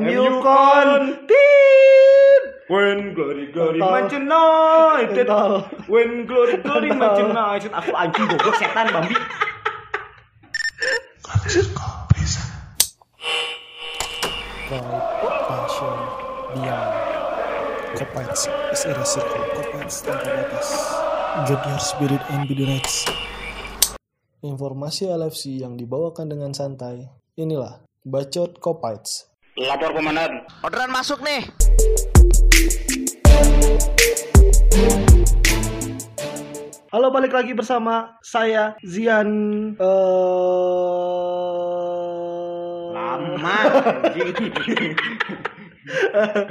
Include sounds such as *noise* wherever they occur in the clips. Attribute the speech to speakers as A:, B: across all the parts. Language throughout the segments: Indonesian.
A: MU con
B: MU con.
A: tit
B: When glory glory
A: Tentol.
B: Manchester United.
A: Tentol.
B: When glory glory
A: Tentol.
B: Manchester United. Aku anjing goblok setan Bambi.
C: pride, passion, beyond. Copites is a circle. Copites tanpa batas. Get your spirit and be the rest. Informasi LFC yang dibawakan dengan santai. Inilah Bacot Copites.
D: Orderan masuk nih.
A: Halo balik lagi bersama saya Zian eh
B: Lama anjing.
A: *laughs* Eh,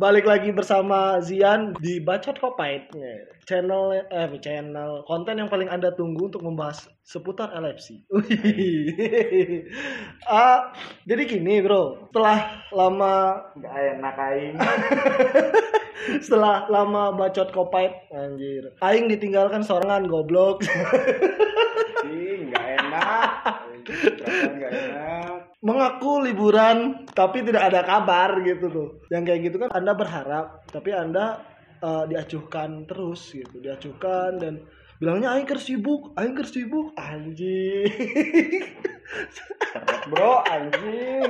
A: balik lagi bersama Zian di Bacot Kopait channel eh channel konten yang paling anda tunggu untuk membahas seputar LFC. *laughs* Ah, jadi gini bro, setelah lama *laughs*
B: Enggak enak aing.
A: setelah lama bacot kopait anjir, Aing ditinggalkan sorangan goblok. *laughs*
B: Anjing, Enggak enak. Perasaan Enggak enak.
A: mengaku liburan tapi tidak ada kabar gitu tuh. Yang kayak gitu kan Anda berharap tapi Anda eh, diacuhkan terus gitu, diacuhkan dan bilangnya aing keur sibuk, aing keur sibuk, anjing. *laughs*
B: Bro anjing.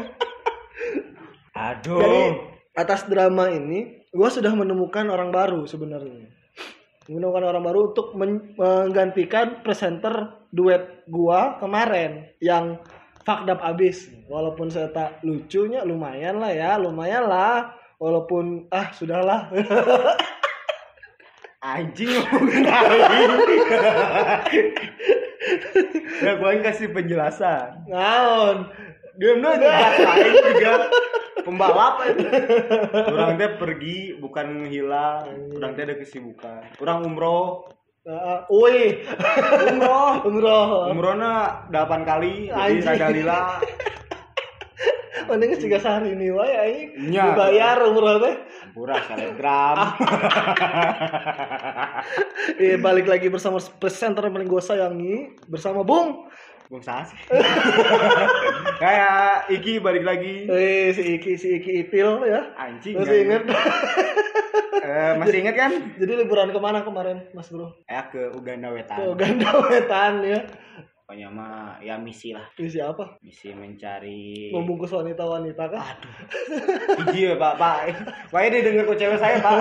B: Aduh.
A: Jadi atas drama ini gua sudah menemukan orang baru sebenarnya. Menemukan orang baru untuk men- menggantikan presenter duet gua kemarin yang fakdap abis. Walaupun saya tak lucunya lumayan lah ya, lumayan lah. Walaupun ah sudahlah. *laughs*
B: anjing ngomongin aing. Nah, gua yang kasih penjelasan.
A: Naon.
B: Diam dulu Aing juga pembalap itu. Orang teh pergi bukan hilang, orang teh ada kesibukan. Orang umroh,
A: Heeh. Woi. Umroh, Ah, *laughs* umroh.
B: umrohna 8 kali, jadi
A: Anjing.
B: rada lila.
A: Mending tiga sehari ini wae aing
B: Nya.
A: dibayar umroh teh.
B: Murah selebgram. *laughs*
A: Eh, balik lagi bersama presenter yang paling gue sayangi bersama Bung.
B: Bung sah sih. *laughs* Kayak Iki balik lagi.
A: Eh si Iki si Iki Ipil ya.
B: Anjing.
A: Masih inget.
B: anjing. Eh, masih inget kan?
A: *laughs* Jadi liburan kemana kemarin Mas Bro?
B: Eh ke Uganda
A: Ke
B: Wetan.
A: Uganda *laughs* Wetan ya.
B: Pokoknya mah ya misi lah,
A: Ini siapa?
B: misi mencari
A: Membungkus wanita-wanita kah?
B: Iya pak, pak. Makanya dia denger kok cewek saya *laughs* pak.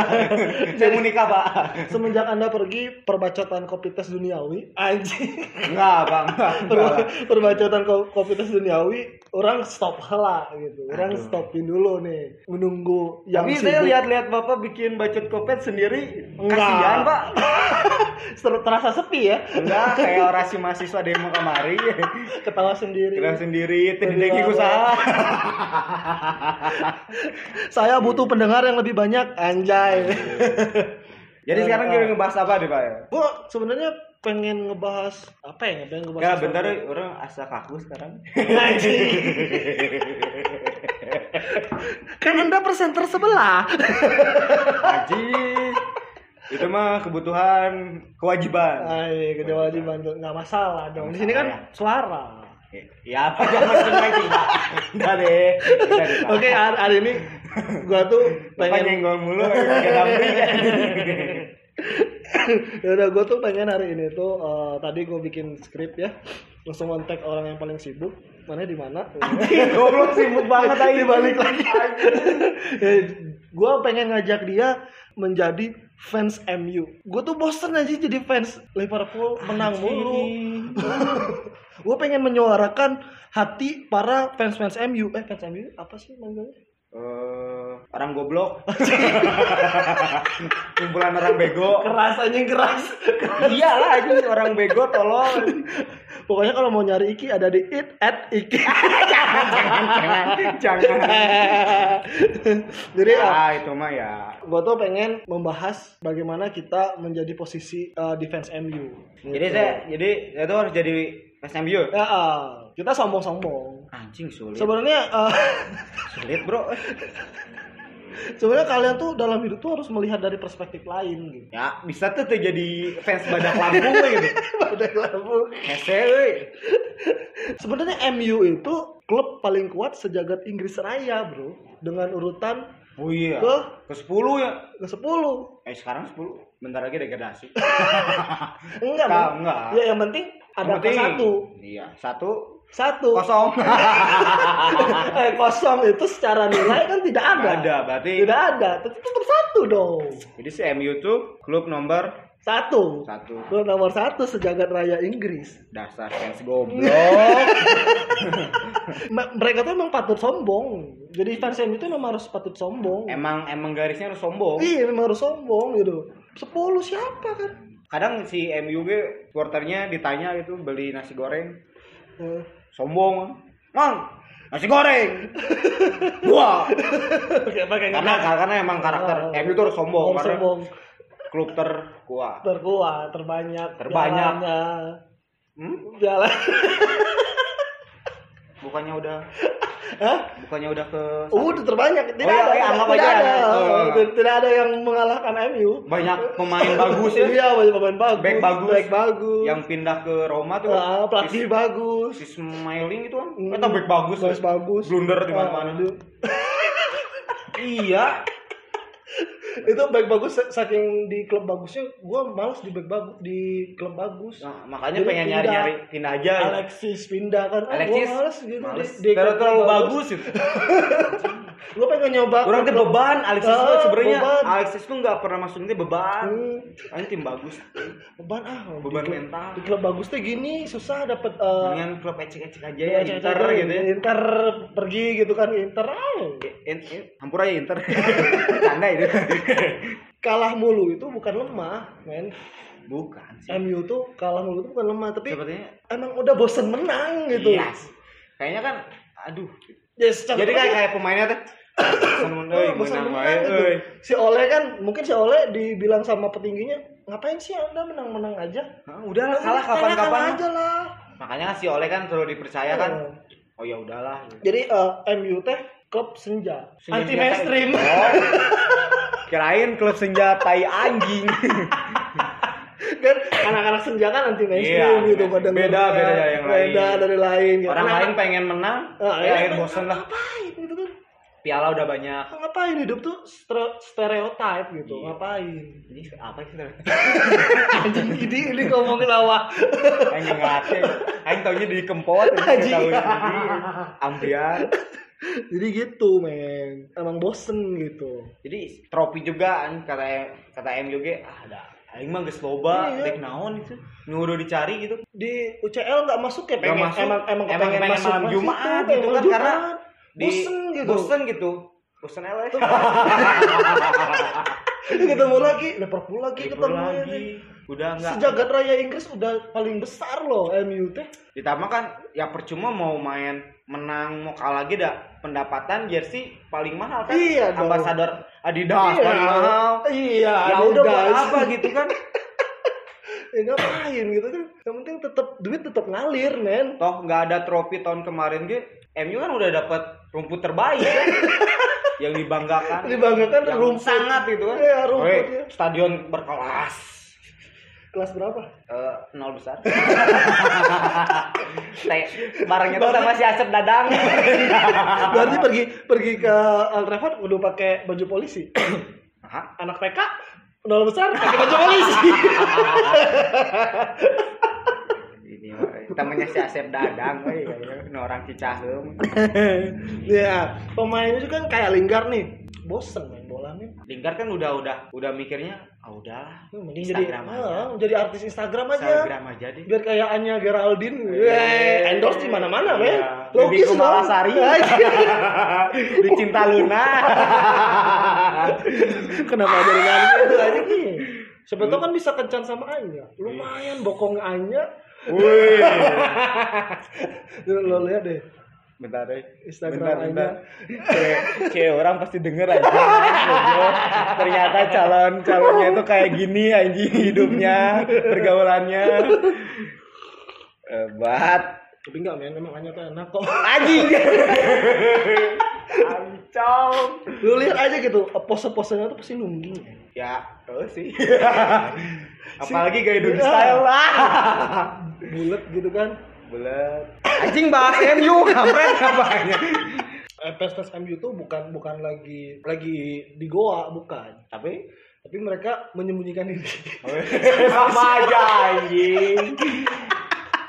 B: saya mau nikah pak.
A: Semenjak Anda pergi perbacotan kopi tes duniawi, anjing.
B: Enggak pak, enggak. enggak,
A: *laughs* Per-
B: Pak.
A: perbacotan ko- kopi tes duniawi, orang stop hela gitu. Orang
B: Aduh.
A: stopin dulu nih, menunggu yang
B: Tapi saya lihat-lihat bapak bikin bacot kopet sendiri.
A: Enggak.
B: Kasihan pak.
A: Ter- terasa sepi ya, *laughs*
B: Enggak, kayak orasi mahasiswa demo kemari.
A: ketawa sendiri.
B: Kira sendiri, tindeki usaha.
A: Saya butuh pendengar yang lebih banyak, anjay. *laughs*
B: Jadi sekarang kita ngebahas apa deh pak ya?
A: Gue sebenarnya pengen ngebahas apa ya? Pengen ngebahas.
B: Enggak,
A: sesuatu.
B: bentar orang asa kaku sekarang.
A: Anjing. *laughs* kan anda presenter sebelah.
B: Haji. Itu mah kebutuhan, kewajiban.
A: Ay, gede wajiban nggak masalah dong. Di sini kan suara.
B: Ya apa jangan macam lagi pak. Udah deh. Udah deh, Pak.
A: Oke, hari hari ini gua tuh
B: Bapak
A: pengen
B: nyenggol mulu kayak damri.
A: *laughs*
B: *laughs*
A: ya udah gue tuh pengen hari ini tuh eh, tadi gue bikin skrip ya langsung kontak orang yang paling sibuk mana di mana
B: *laughs* Goblok sibuk banget aja
A: balik lagi *laughs* gue Eh, pengen ngajak dia menjadi fans MU gue tuh bosen aja jadi fans Liverpool menang mulu gue pengen menyuarakan hati para fans fans MU eh fans MU apa sih namanya
B: Eh, orang goblok. *laughs* Kumpulan orang bego.
A: keras anjing keras
B: Iyalah anjing Iya orang bego tolong.
A: *laughs* pokoknya kalau mau nyari Iki ada di it at Iki *laughs*
B: Jangan.
A: jadi apa?
B: Ah, itu mah ya.
A: gue tuh pengen membahas bagaimana kita menjadi posisi uh, defense MU. Gitu.
B: Jadi saya jadi saya tuh harus jadi SMU.
A: Ya, ah, kita sombong-sombong.
B: Anjing sulit.
A: Sebenarnya, uh, *laughs*
B: Sulit, Bro.
A: sebenarnya kalian tuh dalam hidup tuh harus melihat dari perspektif lain gitu.
B: Ya, bisa tuh tuh jadi fans badak Lampung *laughs* we, gitu.
A: Pada labu.
B: Hese euy.
A: Sebenarnya MU itu klub paling kuat sejagat Inggris Raya, Bro. Dengan urutan
B: Oh iya.
A: Ke?
B: Ke 10 ya.
A: ke-10.
B: Eh sekarang 10. Bentar lagi degradasi.
A: Enggak,
B: Enggak,
A: Bang.
B: enggak.
A: Ya yang penting ada
B: Yang penting-
A: satu.
B: Iya, satu
A: Satu.
B: kosong.
A: *laughs* eh, kosong itu secara nilai kan tidak ada.
B: Nggak ada, berarti
A: Tidak ada. Tetap, tetap satu dong.
B: jadi si MU tuh klub nomor
A: Satu.
B: satu
A: Lo nomor satu sejagat raya Inggris.
B: dasar fans
A: *laughs*
B: goblok
A: Me- mereka tuh emang patut sombong. Jadi fans MU itu memang harus patut sombong.
B: emang emang garisnya harus sombong
A: Iya, memang harus sombong gitu. Sepuluh siapa kan?
B: kadang si MU ge supporternya ditanya gitu beli nasi goreng
A: Eh,
B: sombong mang nasi
A: *laughs*
B: goreng wah
A: Kayak pakai
B: karena karena emang karakter
A: Ah.
B: MU tuh harus sombong
A: Sombong,
B: karena
A: sombong.
B: klub terkuat
A: terkuat, terbanyak,
B: Terbanyak.
A: jalannya.
B: hmm?
A: Jalan. *laughs*
B: bukannya udah
A: Hah?
B: bukannya udah ke
A: Udah terbanyak, tidak
B: iya,
A: ada,
B: iya, anggap
A: tidak
B: aja
A: ada,
B: ada. Oh.
A: Tidak- tidak ada yang mengalahkan MU.
B: banyak pemain bagus ya
A: Iya, banyak pemain bagus,
B: Back bagus.
A: back bagus,
B: yang pindah ke Roma tuh
A: Ah, pelatih bagus,
B: si Smiling itu kan
A: Hmm.
B: kata back bagus
A: bagus bagus,
B: blunder di mana-mana.
A: Ah, itu-
B: *laughs* iya
A: itu back bagus saking di klub bagusnya, gue males di back bagus di klub bagus.
B: Nah, makanya
A: Jadi
B: pengen
A: pindah.
B: nyari-nyari pindah aja. ya.
A: Alexis pindah kan, ah,
B: Alexis
A: gua males gitu
B: males.
A: di, di
B: Terlalu,
A: klub
B: terlalu bagus itu.
A: Gue pengen nyoba.
B: Orang teh beban Alexis
A: Ah,
B: tuh sebenarnya.
A: beban.
B: Alexis tuh nggak pernah masuknya beban.
A: Hmm.
B: Ini tim bagus.
A: beban ah
B: Beban ya.
A: di klub-
B: mental.
A: di klub bagus tuh gini susah dapat eh,
B: Dengan klub ecek-ecek aja ya
A: cewek-cewek
B: Inter
A: cewek,
B: gitu ya.
A: Inter pergi gitu kan Inter ah,
B: In, in, hampur aja
A: *laughs*
B: Inter. Tanda itu.
A: kalah mulu itu bukan lemah men
B: Bukan sih.
A: MU tuh kalah mulu itu bukan lemah tapi
B: Sepertinya
A: emang udah bosen menang gitu
B: Iya. Kayaknya kan aduh.
A: ya secara
B: Jadi kan kayak kayak pemainnya tuh *coughs* Seneng
A: Eh,
B: euy
A: bosen
B: menang
A: menang
B: wae
A: gitu.
B: euy.
A: si Oleh kan mungkin si Oleh dibilang sama petingginya ngapain sih anda menang-menang aja
B: Nah, udah lah,
A: Kalah,
B: kalah kapan-kapan.
A: kalah aja Iya. lah
B: Makanya si Oleh kan selalu dipercaya kan. Oh ya udahlah.
A: jadi eh, MU teh klub senja,
B: Senja
A: anti
B: senjata.
A: mainstream *laughs*
B: Oh. Kirain klub senja tai anjing.
A: kan anak-anak senja kan anti mainstream
B: Iya,
A: gitu pada
B: beda-
A: ngeliatnya.
B: beda dari yang lain.
A: beda dari lain gitu.
B: Orang
A: Anak-
B: lain pengen menang,
A: Ah,
B: ya
A: iya.
B: akhirnya bosen lah.
A: ngapain gitu kan
B: Piala udah banyak.
A: ngapain hidup tuh stere- stereotype gitu
B: Iya.
A: ngapain *laughs*
B: Ini apa sih?
A: anjing ini ini ngomongin lawa
B: Anjing ngate. Anjing taunya di kempot,
A: Anjing.
B: ambiar.
A: *laughs* jadi gitu men emang bosen gitu
B: Jadi trofi juga kan kata kata M juga ah ada aing mah geus loba
A: Iya.
B: dek naon itu nyuruh dicari gitu
A: di UCL nggak masuk ya
B: Nggak
A: pengen
B: masuk.
A: emang emang
B: Emang
A: kepengen
B: pengen
A: masuk
B: malam
A: Mas
B: Jumat
A: itu,
B: gitu
A: pengen malam
B: kan, karena
A: Jumat.
B: di
A: bosen gitu
B: bosen gitu bosen eleh *laughs*
A: Ini *laughs* ketemu lagi Liverpool lagi
B: Libur
A: ketemu
B: lagi
A: lagi
B: udah enggak
A: sejagat raya Inggris udah paling besar loh MU teh
B: ditambah kan ya percuma mau main menang mau kalah lagi dah pendapatan jersey paling mahal kan
A: Iya dong.
B: ambasador Adidas Ah, paling mahal
A: iya
B: ya udah buat
A: Adidas.
B: apa gitu kan
A: *laughs* ya ngapain gitu kan yang penting tetap duit tetap ngalir men
B: toh nggak ada trofi tahun kemarin gitu MU kan udah dapat rumput terbaik
A: *laughs*
B: kan yang dibanggakan
A: dibanggakan
B: yang
A: rumput
B: sangat gitu kan
A: Iya, rumput, iya.
B: Weh, stadion berkelas
A: kelas berapa
B: Eh, nol
A: *laughs*
B: besar Teh, barangnya tuh sama si Asep Dadang
A: *laughs*
B: Ah.
A: berarti pergi pergi ke Old Trafford udah pakai baju
B: *coughs*
A: polisi
B: Hah?
A: anak PK nol besar pakai baju
B: *coughs*
A: polisi
B: ini mah, temennya si Asep Dadang weh, ya, ya, ini orang Cicahem
A: ya pemainnya juga kan kayak Linggar nih bosen main bola nih
B: Lingkar kan udah udah udah mikirnya ah udahlah
A: mending
B: Instagram
A: jadi
B: aja.
A: ah, jadi artis Instagram aja
B: Instagram aja deh
A: biar kayak Anya Geraldine
B: Iya.
A: Weh, endorse di mana-mana men
B: Iya. Bibi
A: logis dong *laughs*
B: Kumalasari. di Cinta Luna
A: Kenapa jadi ngalir *laughs* itu aja nih? Sebetulnya Iya. kan bisa kencan sama Anya. Lumayan bokong Anya.
B: Wih.
A: Lo, lo lihat deh
B: bentar deh
A: Instagram Anya.
B: Cewek- cewek orang pasti denger aja goblok. ternyata calon calonnya itu kayak gini anjing hidupnya pergaulannya Eh, bat
A: Tapi enggak men, emang Anya tuh enak kok. *laughs*
B: anjing Ancong.
A: Lo lihat aja gitu, pose-posenya tuh pasti nungging. ya.
B: ya terus
A: *laughs*
B: sih apalagi gaya hidup style lah
A: Bulet gitu kan.
B: Belet. Anjing bahas MU kampret apanya.
A: Eh, Pestes MU itu bukan bukan lagi lagi di Goa bukan *laughs*
B: Tapi
A: tapi mereka menyembunyikan diri *laughs*
B: sama aja anjing.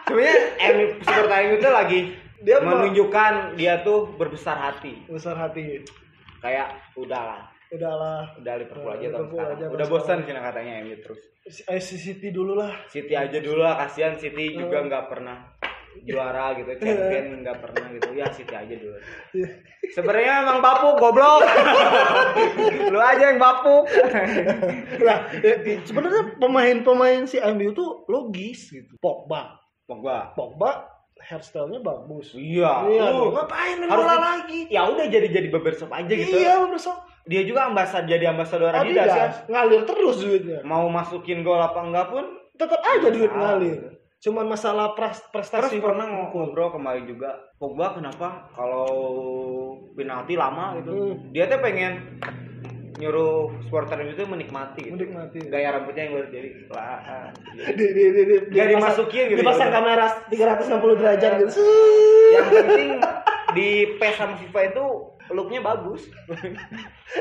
B: Sebenarnya MU supporter MU itu lagi
A: Dia mah-
B: menunjukkan dia tuh berbesar hati.
A: besar hati
B: Kayak udahlah,
A: udahlah
B: udah Liverpool aja tahun
A: Liverpool aja
B: sekarang. Udah
A: tahun
B: bosan cina katanya MU terus.
A: eh, si City dulu lah
B: City aja dulu lah kasihan City juga nggak pernah juara gitu champion nggak pernah gitu ya City aja dulu sebenarnya emang bapuk goblok
A: *laughs*
B: lu aja yang bapuk
A: nah eh, sebenarnya pemain-pemain si MU tuh logis gitu Pogba
B: Pogba
A: Pogba hairstylenya bagus
B: iya
A: Iya,
B: lu
A: ngapain main
B: harus
A: bola
B: di-
A: lagi?
B: ya udah jadi jadi bebersop aja gitu
A: Iya, besok.
B: dia juga ambasad jadi ambasador Adidas ya
A: Adidas ngalir terus duitnya.
B: mau masukin gol apa enggak pun
A: Tetap aja duit
B: Ah.
A: ngalir. Cuman masalah pras-
B: terus
A: prestasi
B: pernah ngobrol kemarin juga Pogba kenapa kalau penalti lama gitu
A: Hmm.
B: dia tuh pengen nyuruh supporter itu menikmati gitu.
A: menikmati.
B: gaya rambutnya yang baru jadi lah ah, iya.
A: Di di di di,
B: Nggak
A: dipasang-
B: dimasukin gitu ya, Ah.
A: Dipasang
B: udah.
A: kamera 360 derajat gitu.
B: yang penting di PES sama FIFA itu looknya bagus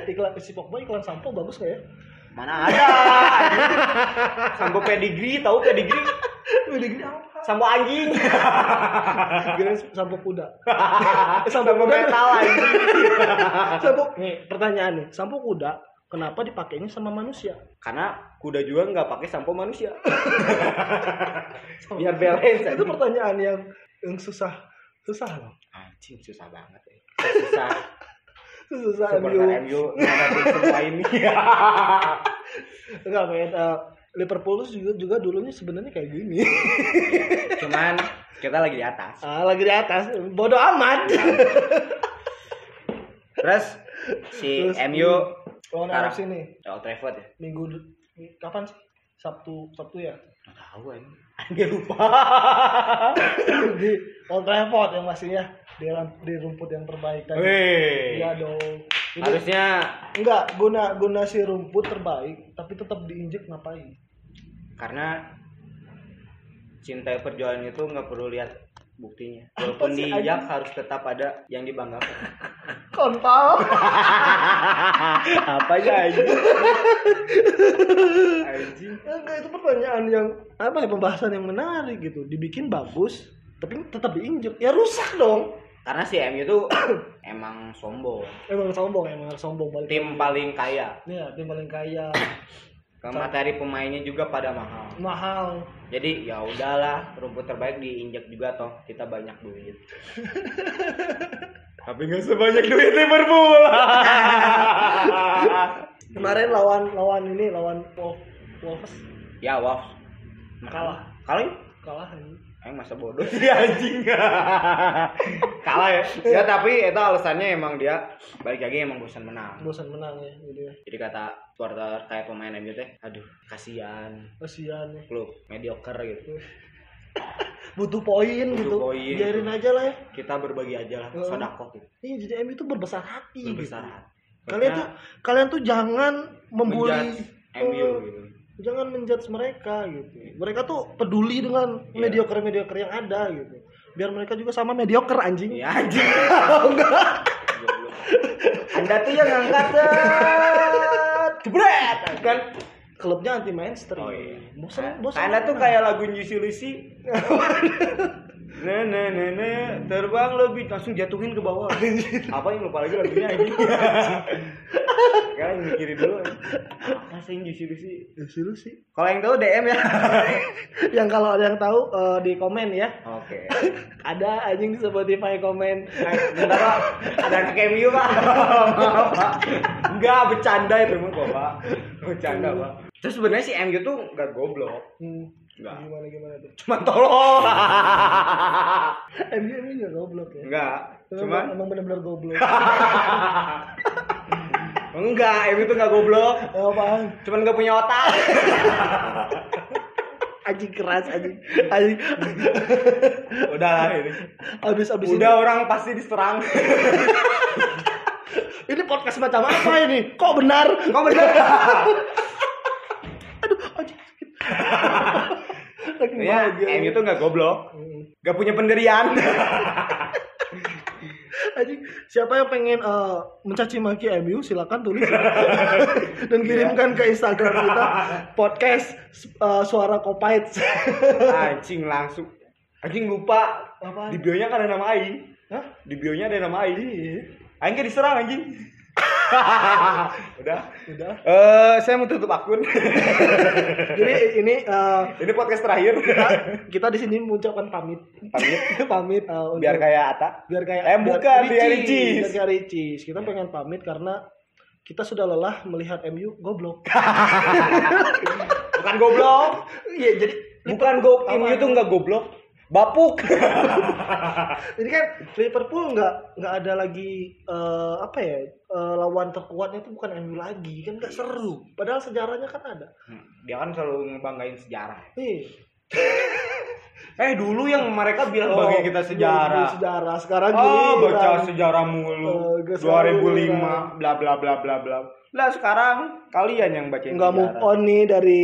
A: iklan si Pogba iklan sampo bagus gak ya?
B: mana ada sampo pedigree tahu pedigree
A: Pedigree
B: sampo *laughs* anjing
A: Kirain sampo kuda.
B: sampo metal anjing
A: Sampo nih, pertanyaan nih, sampo kuda kenapa dipakainya sama manusia?
B: karena kuda juga nggak pakai sampo manusia biar balance
A: Itu pertanyaan yang yang susah susah loh.
B: anjing susah banget ya susah
A: Susah MU.
B: supporter MU ngadepin semua ini
A: Enggak men, eh, Liverpool tuh juga, juga dulunya sebenarnya kayak gini.
B: *laughs*
A: *laughs*
B: cuman kita lagi di atas
A: ah, lagi di atas, bodoh amat.
B: terus si
A: Terus,
B: MU
A: Lawan
B: Sekarang.
A: RFC nih,
B: Old Trafford ya
A: minggu d- kapan sih? Sabtu, Sabtu ya. Ah,
B: nggak tahu anjing anjing lupa
A: *coughs* di Old Trafford yang pastinya di, ram- di rumput yang terbaik tadi.
B: Wih.
A: Iya dong. Ini
B: harusnya
A: enggak guna guna si rumput terbaik, tapi tetap diinjek ngapain?
B: karena cinta perjuangan itu nggak perlu lihat buktinya walaupun
A: sih,
B: diinjak harus tetap ada yang dibanggakan
A: Kontol.
B: Ah, apa aja anjing anjing
A: Enggak, itu pertanyaan yang apa ya pembahasan yang menarik gitu. Dibikin bagus, tapi tetap diinjek. Ya rusak dong.
B: karena si MU itu *coughs* emang sombong
A: Emang sombong, emang sombong balik.
B: tim paling kaya
A: Iya, tim paling kaya,
B: ke materi pemainnya juga pada mahal
A: mahal.
B: jadi ya udahlah rumput terbaik diinjak juga toh kita banyak duit tapi nggak sebanyak duit Liverpool
A: Kemarin lawan lawan ini lawan Wolf Wolves
B: *laughs* ya wow
A: Kalah.
B: kalah ya?
A: kalah ini.
B: Emang masa bodoh sih *laughs* anjing. Kalah ya. Ya tapi itu alasannya emang dia balik lagi emang bosan menang.
A: Bosan menang ya gitu ya.
B: Jadi kata supporter kayak pemain MU teh, aduh kasihan
A: Kasihan ya.
B: klub mediocre gitu.
A: Butuh poin
B: Butuh
A: gitu.
B: poin.
A: Biarin aja lah ya.
B: Kita berbagi aja lah,
A: Heeh.
B: sodako gitu.
A: Iya, jadi MU itu berbesar hati
B: Berbesar
A: gitu.
B: hati.
A: Kalian tuh kalian tuh jangan membuli
B: membuli MU
A: eh,
B: gitu.
A: Jangan menjudge mereka gitu. Mereka tuh peduli dengan
B: Iya.
A: mediocre-mediocre yang ada gitu. Biar mereka juga sama mediocre *laughs* anjing. Oh,
B: Ya anjing. Goblok. Anda tuh
A: *laughs*
B: yang ngangkat set. Jebret kan.
A: Klubnya anti mainstream.
B: Oh iya.
A: Bosan, bosan.
B: Anda tuh kayak lagu Yusi Lucy. Nah, nah, nah, nah, terbang lebih langsung jatuhin ke bawah. Apa yang lupa lagi lagunya aja? Kalian mikirin dulu. Apa sih yang Yusi Lucy?
A: Ya, sih lu sih. *laughs*
B: Kalau yang tahu DM ya.
A: yang kalau ada yang tahu eh, di komen ya
B: Oke.
A: ada anjing di Spotify komen
B: Nah, Bentar pak, ada anak MU pak. Maaf pak. Enggak bercanda itu emang kok pak. Bercanda pak. Terus sebenarnya si MU tuh nggak goblok.
A: hmm,
B: Enggak.
A: gimana gimana tuh
B: Cuman tolong.
A: MU ini nggak goblok ya
B: Enggak.
A: Emang-
B: Cuman
A: emang benar-benar goblok *laughs*
B: Enggak, Emi tuh gak goblok.
A: Eh, apaan
B: Cuman gak punya otak.
A: anjing keras anjing anjing
B: *laughs*
A: *laughs*
B: Udah lah ini.
A: abis abis
B: Udah orang pasti *laughs* diserang.
A: ini ini podcast macam apa ini kok benar
B: Kok
A: *laughs*
B: bener? *laughs*
A: aduh anjing sakit. lagi
B: Intinya
A: bahagia.
B: MU Iya, tuh nggak goblok, nggak punya *laughs* pendirian.
A: Anjing, siapa yang pengen eh, mencaci maki MU silakan tulis ya.
B: *laughs*
A: dan kirimkan ke Instagram kita podcast eh, suara
B: *laughs*
A: kopait.
B: Anjing langsung. Anjing lupa.
A: Apaan?
B: Di bio-nya kan ada nama Aing.
A: Hah?
B: Di bio-nya ada nama Aing. Aing kan diserang anjing. *laughs* Udah.
A: Udah.
B: Eh, saya mau tutup *laughs* akun.
A: Jadi ini eh,
B: Ini podcast terakhir.
A: kita di sini mengucapkan pamit.
B: Pamit.
A: *laughs* pamit eh, untuk-
B: Biar kayak Ata.
A: biar kayak
B: Eh, bukan, biar Iya. ricis.
A: Biar kayak ricis. Kita pengen pamit karena kita sudah lelah melihat MU goblok.
B: *laughs* Bukan goblok.
A: Iya, jadi
B: Bukan go MU tuh nggak goblok. Bapuk.
A: Jadi kan Liverpool nggak nggak ada lagi eh, apa ya eh, lawan terkuatnya itu bukan MU lagi kan
B: Iya.
A: nggak seru. Padahal sejarahnya kan ada.
B: Dia kan selalu ngebanggain sejarah.
A: Nih
B: Eh dulu yang mereka bilang Iya, bagi kita
A: bagi
B: sejarah.
A: Oh, sejarah sekarang
B: Oh,
A: giliran.
B: baca sejarah
A: Eh,
B: mulu.
A: gak selalu
B: 2005 bla bla bla bla bla. Lah sekarang kalian yang baca
A: Nggak move on nih dari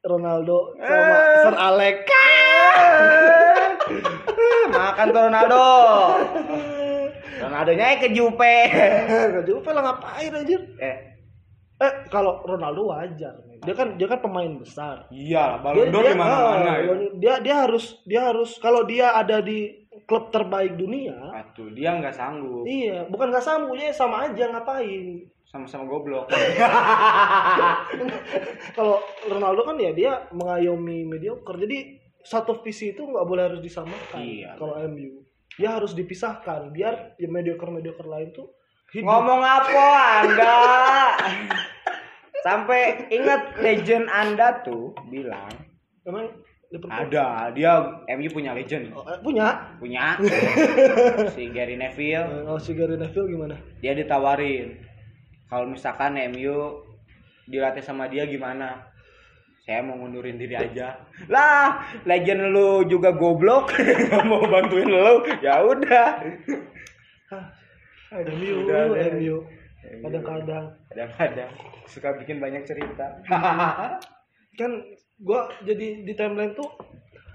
A: Ronaldo sama
B: Eh. *laughs*
A: Sir Alex.
B: Makan tuh Ronaldo. Ronaldonya eh ke Jupe.
A: Gak jauh lah ngapain anjir.
B: eh,
A: Eh kalau Ronaldo wajar. men. Dia kan dia kan pemain besar.
B: iya, Ballon d'Or di mana-mana.
A: ah,
B: ya.
A: dia dia harus dia harus kalau dia ada di klub terbaik dunia
B: Atuh, dia nggak sanggup.
A: Iya, bukan nggak sanggup ya sama aja ngapain.
B: Sama-sama goblok.
A: Kalau Ronaldo kan ya dia mengayomi mediocre. Jadi satu visi itu nggak boleh harus disamakan.
B: Iya.
A: Kalau MU dia harus dipisahkan biar ya mediocre mediocre lain tuh hidup.
B: Ngomong apa Anda? Sampai ingat legend Anda tuh bilang
A: Emang Liverpool
B: ada dia MU punya legend
A: Oh, eh, punya?
B: punya si Gary
A: Eh,
B: Neville
A: Oh, si Gary Neville gimana?
B: dia ditawarin kalau misalkan MU dilatih sama dia gimana saya mau ngundurin diri aja lah legend lu juga goblok *laughs* nggak mau bantuin lu ya udah
A: Hah, MU,
B: udah deh.
A: MU. Kadang-kadang
B: kadang-kadang suka bikin banyak cerita *laughs*
A: kan gua jadi di timeline tuh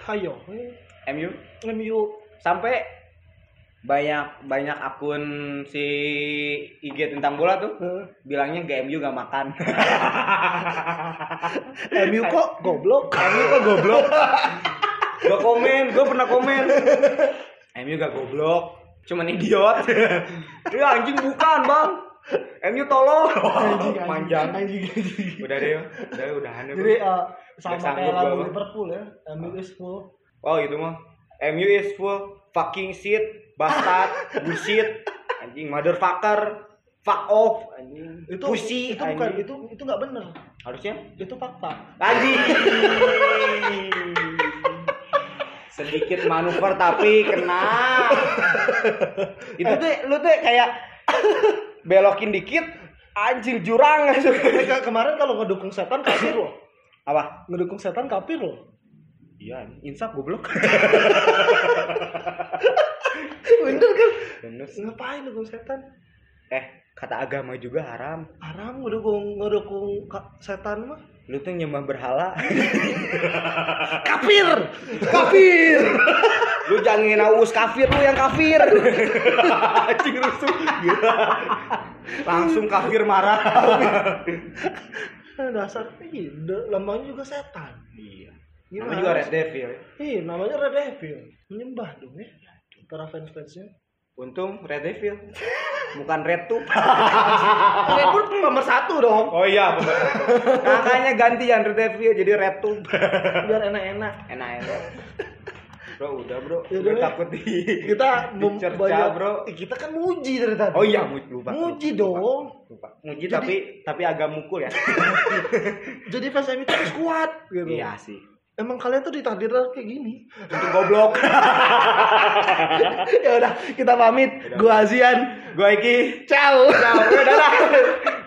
A: hayo eh,
B: MU
A: MU
B: sampai banyak banyak akun si IG tentang bola tuh
A: eh,
B: bilangnya GMU gak makan
A: MU kok *laughs* goblok
B: MU
A: *laughs*
B: kok goblok? gua komen, gua pernah komen. MU gak goblok, cuman idiot.
A: *laughs*
B: Dia anjing bukan, Bang. MU
A: *laughs*
B: tolong. Panjang.
A: anjing, anjing.
B: Udah deh, udah udahan deh.
A: Jadi
B: Bang.
A: eh, sama
B: sanggup
A: kayak
B: gua,
A: lagu
B: Bang.
A: Liverpool ya, MU is full.
B: Oh, gitu mah. MU is full fucking shit, bastard,
A: *laughs*
B: bullshit, anjing motherfucker, fuck off, anjing.
A: Itu
B: pussy,
A: itu bukan
B: anjing.
A: itu itu nggak bener.
B: Harusnya
A: Itu *laughs* fakta.
B: Anjing. Sedikit manuver tapi kena. Itu tuh lu tuh kayak belokin dikit anjing jurang
A: Eh, ke- kemarin kalau ngedukung setan kafir loh.
B: Apa?
A: Ngedukung setan kafir loh.
B: Iya, insaf goblok.
A: *laughs* bener kan?
B: Benes.
A: Ngapain ngedukung setan?
B: Eh, kata agama juga haram.
A: Haram ngedukung ngedukung ka- setan mah.
B: Lu tuh nyembah berhala.
A: Kafir. Kafir.
B: Lu jangan ngena us kafir lu yang kafir. Anjing rusuh. Gila. Langsung kafir marah.
A: Nah, Dasar ih, de- lambangnya juga setan.
B: Iya.
A: Gimana
B: Namanya juga Red Devil.
A: Ih, namanya Red Devil. Menyembah dong ya. Para fans-fansnya.
B: Untung Red
A: *laughs*
B: Devil. Bukan Red Tube.
A: Kalian pun nomor satu dong.
B: Oh iya, Makanya ganti yang Red Devil jadi Red Tube.
A: Biar enak-enak.
B: Enak enak. Bro, udah bro.
A: Ya,
B: Udah
A: udah, ya.
B: takut di
A: kita mem-
B: dicerca,
A: banyak
B: bro.
A: Eh, kita kan muji dari tadi
B: Oh iya, muji lupa.
A: muji
B: lupa,
A: dong
B: Lupa. Muji tapi tapi agak
A: *laughs*
B: mukul ya.
A: jadi fans MU tuh harus kuat gitu
B: iya sih.
A: emang kalian tuh ditakdirkan kayak gini *laughs*
B: Untuk goblok.
A: ya udah kita pamit gua Azian
B: Gua iki.
A: ciao
B: Ya, *laughs* Nah, udah dah.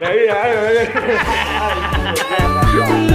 B: Nah, iya, iya, iya.
D: Yo.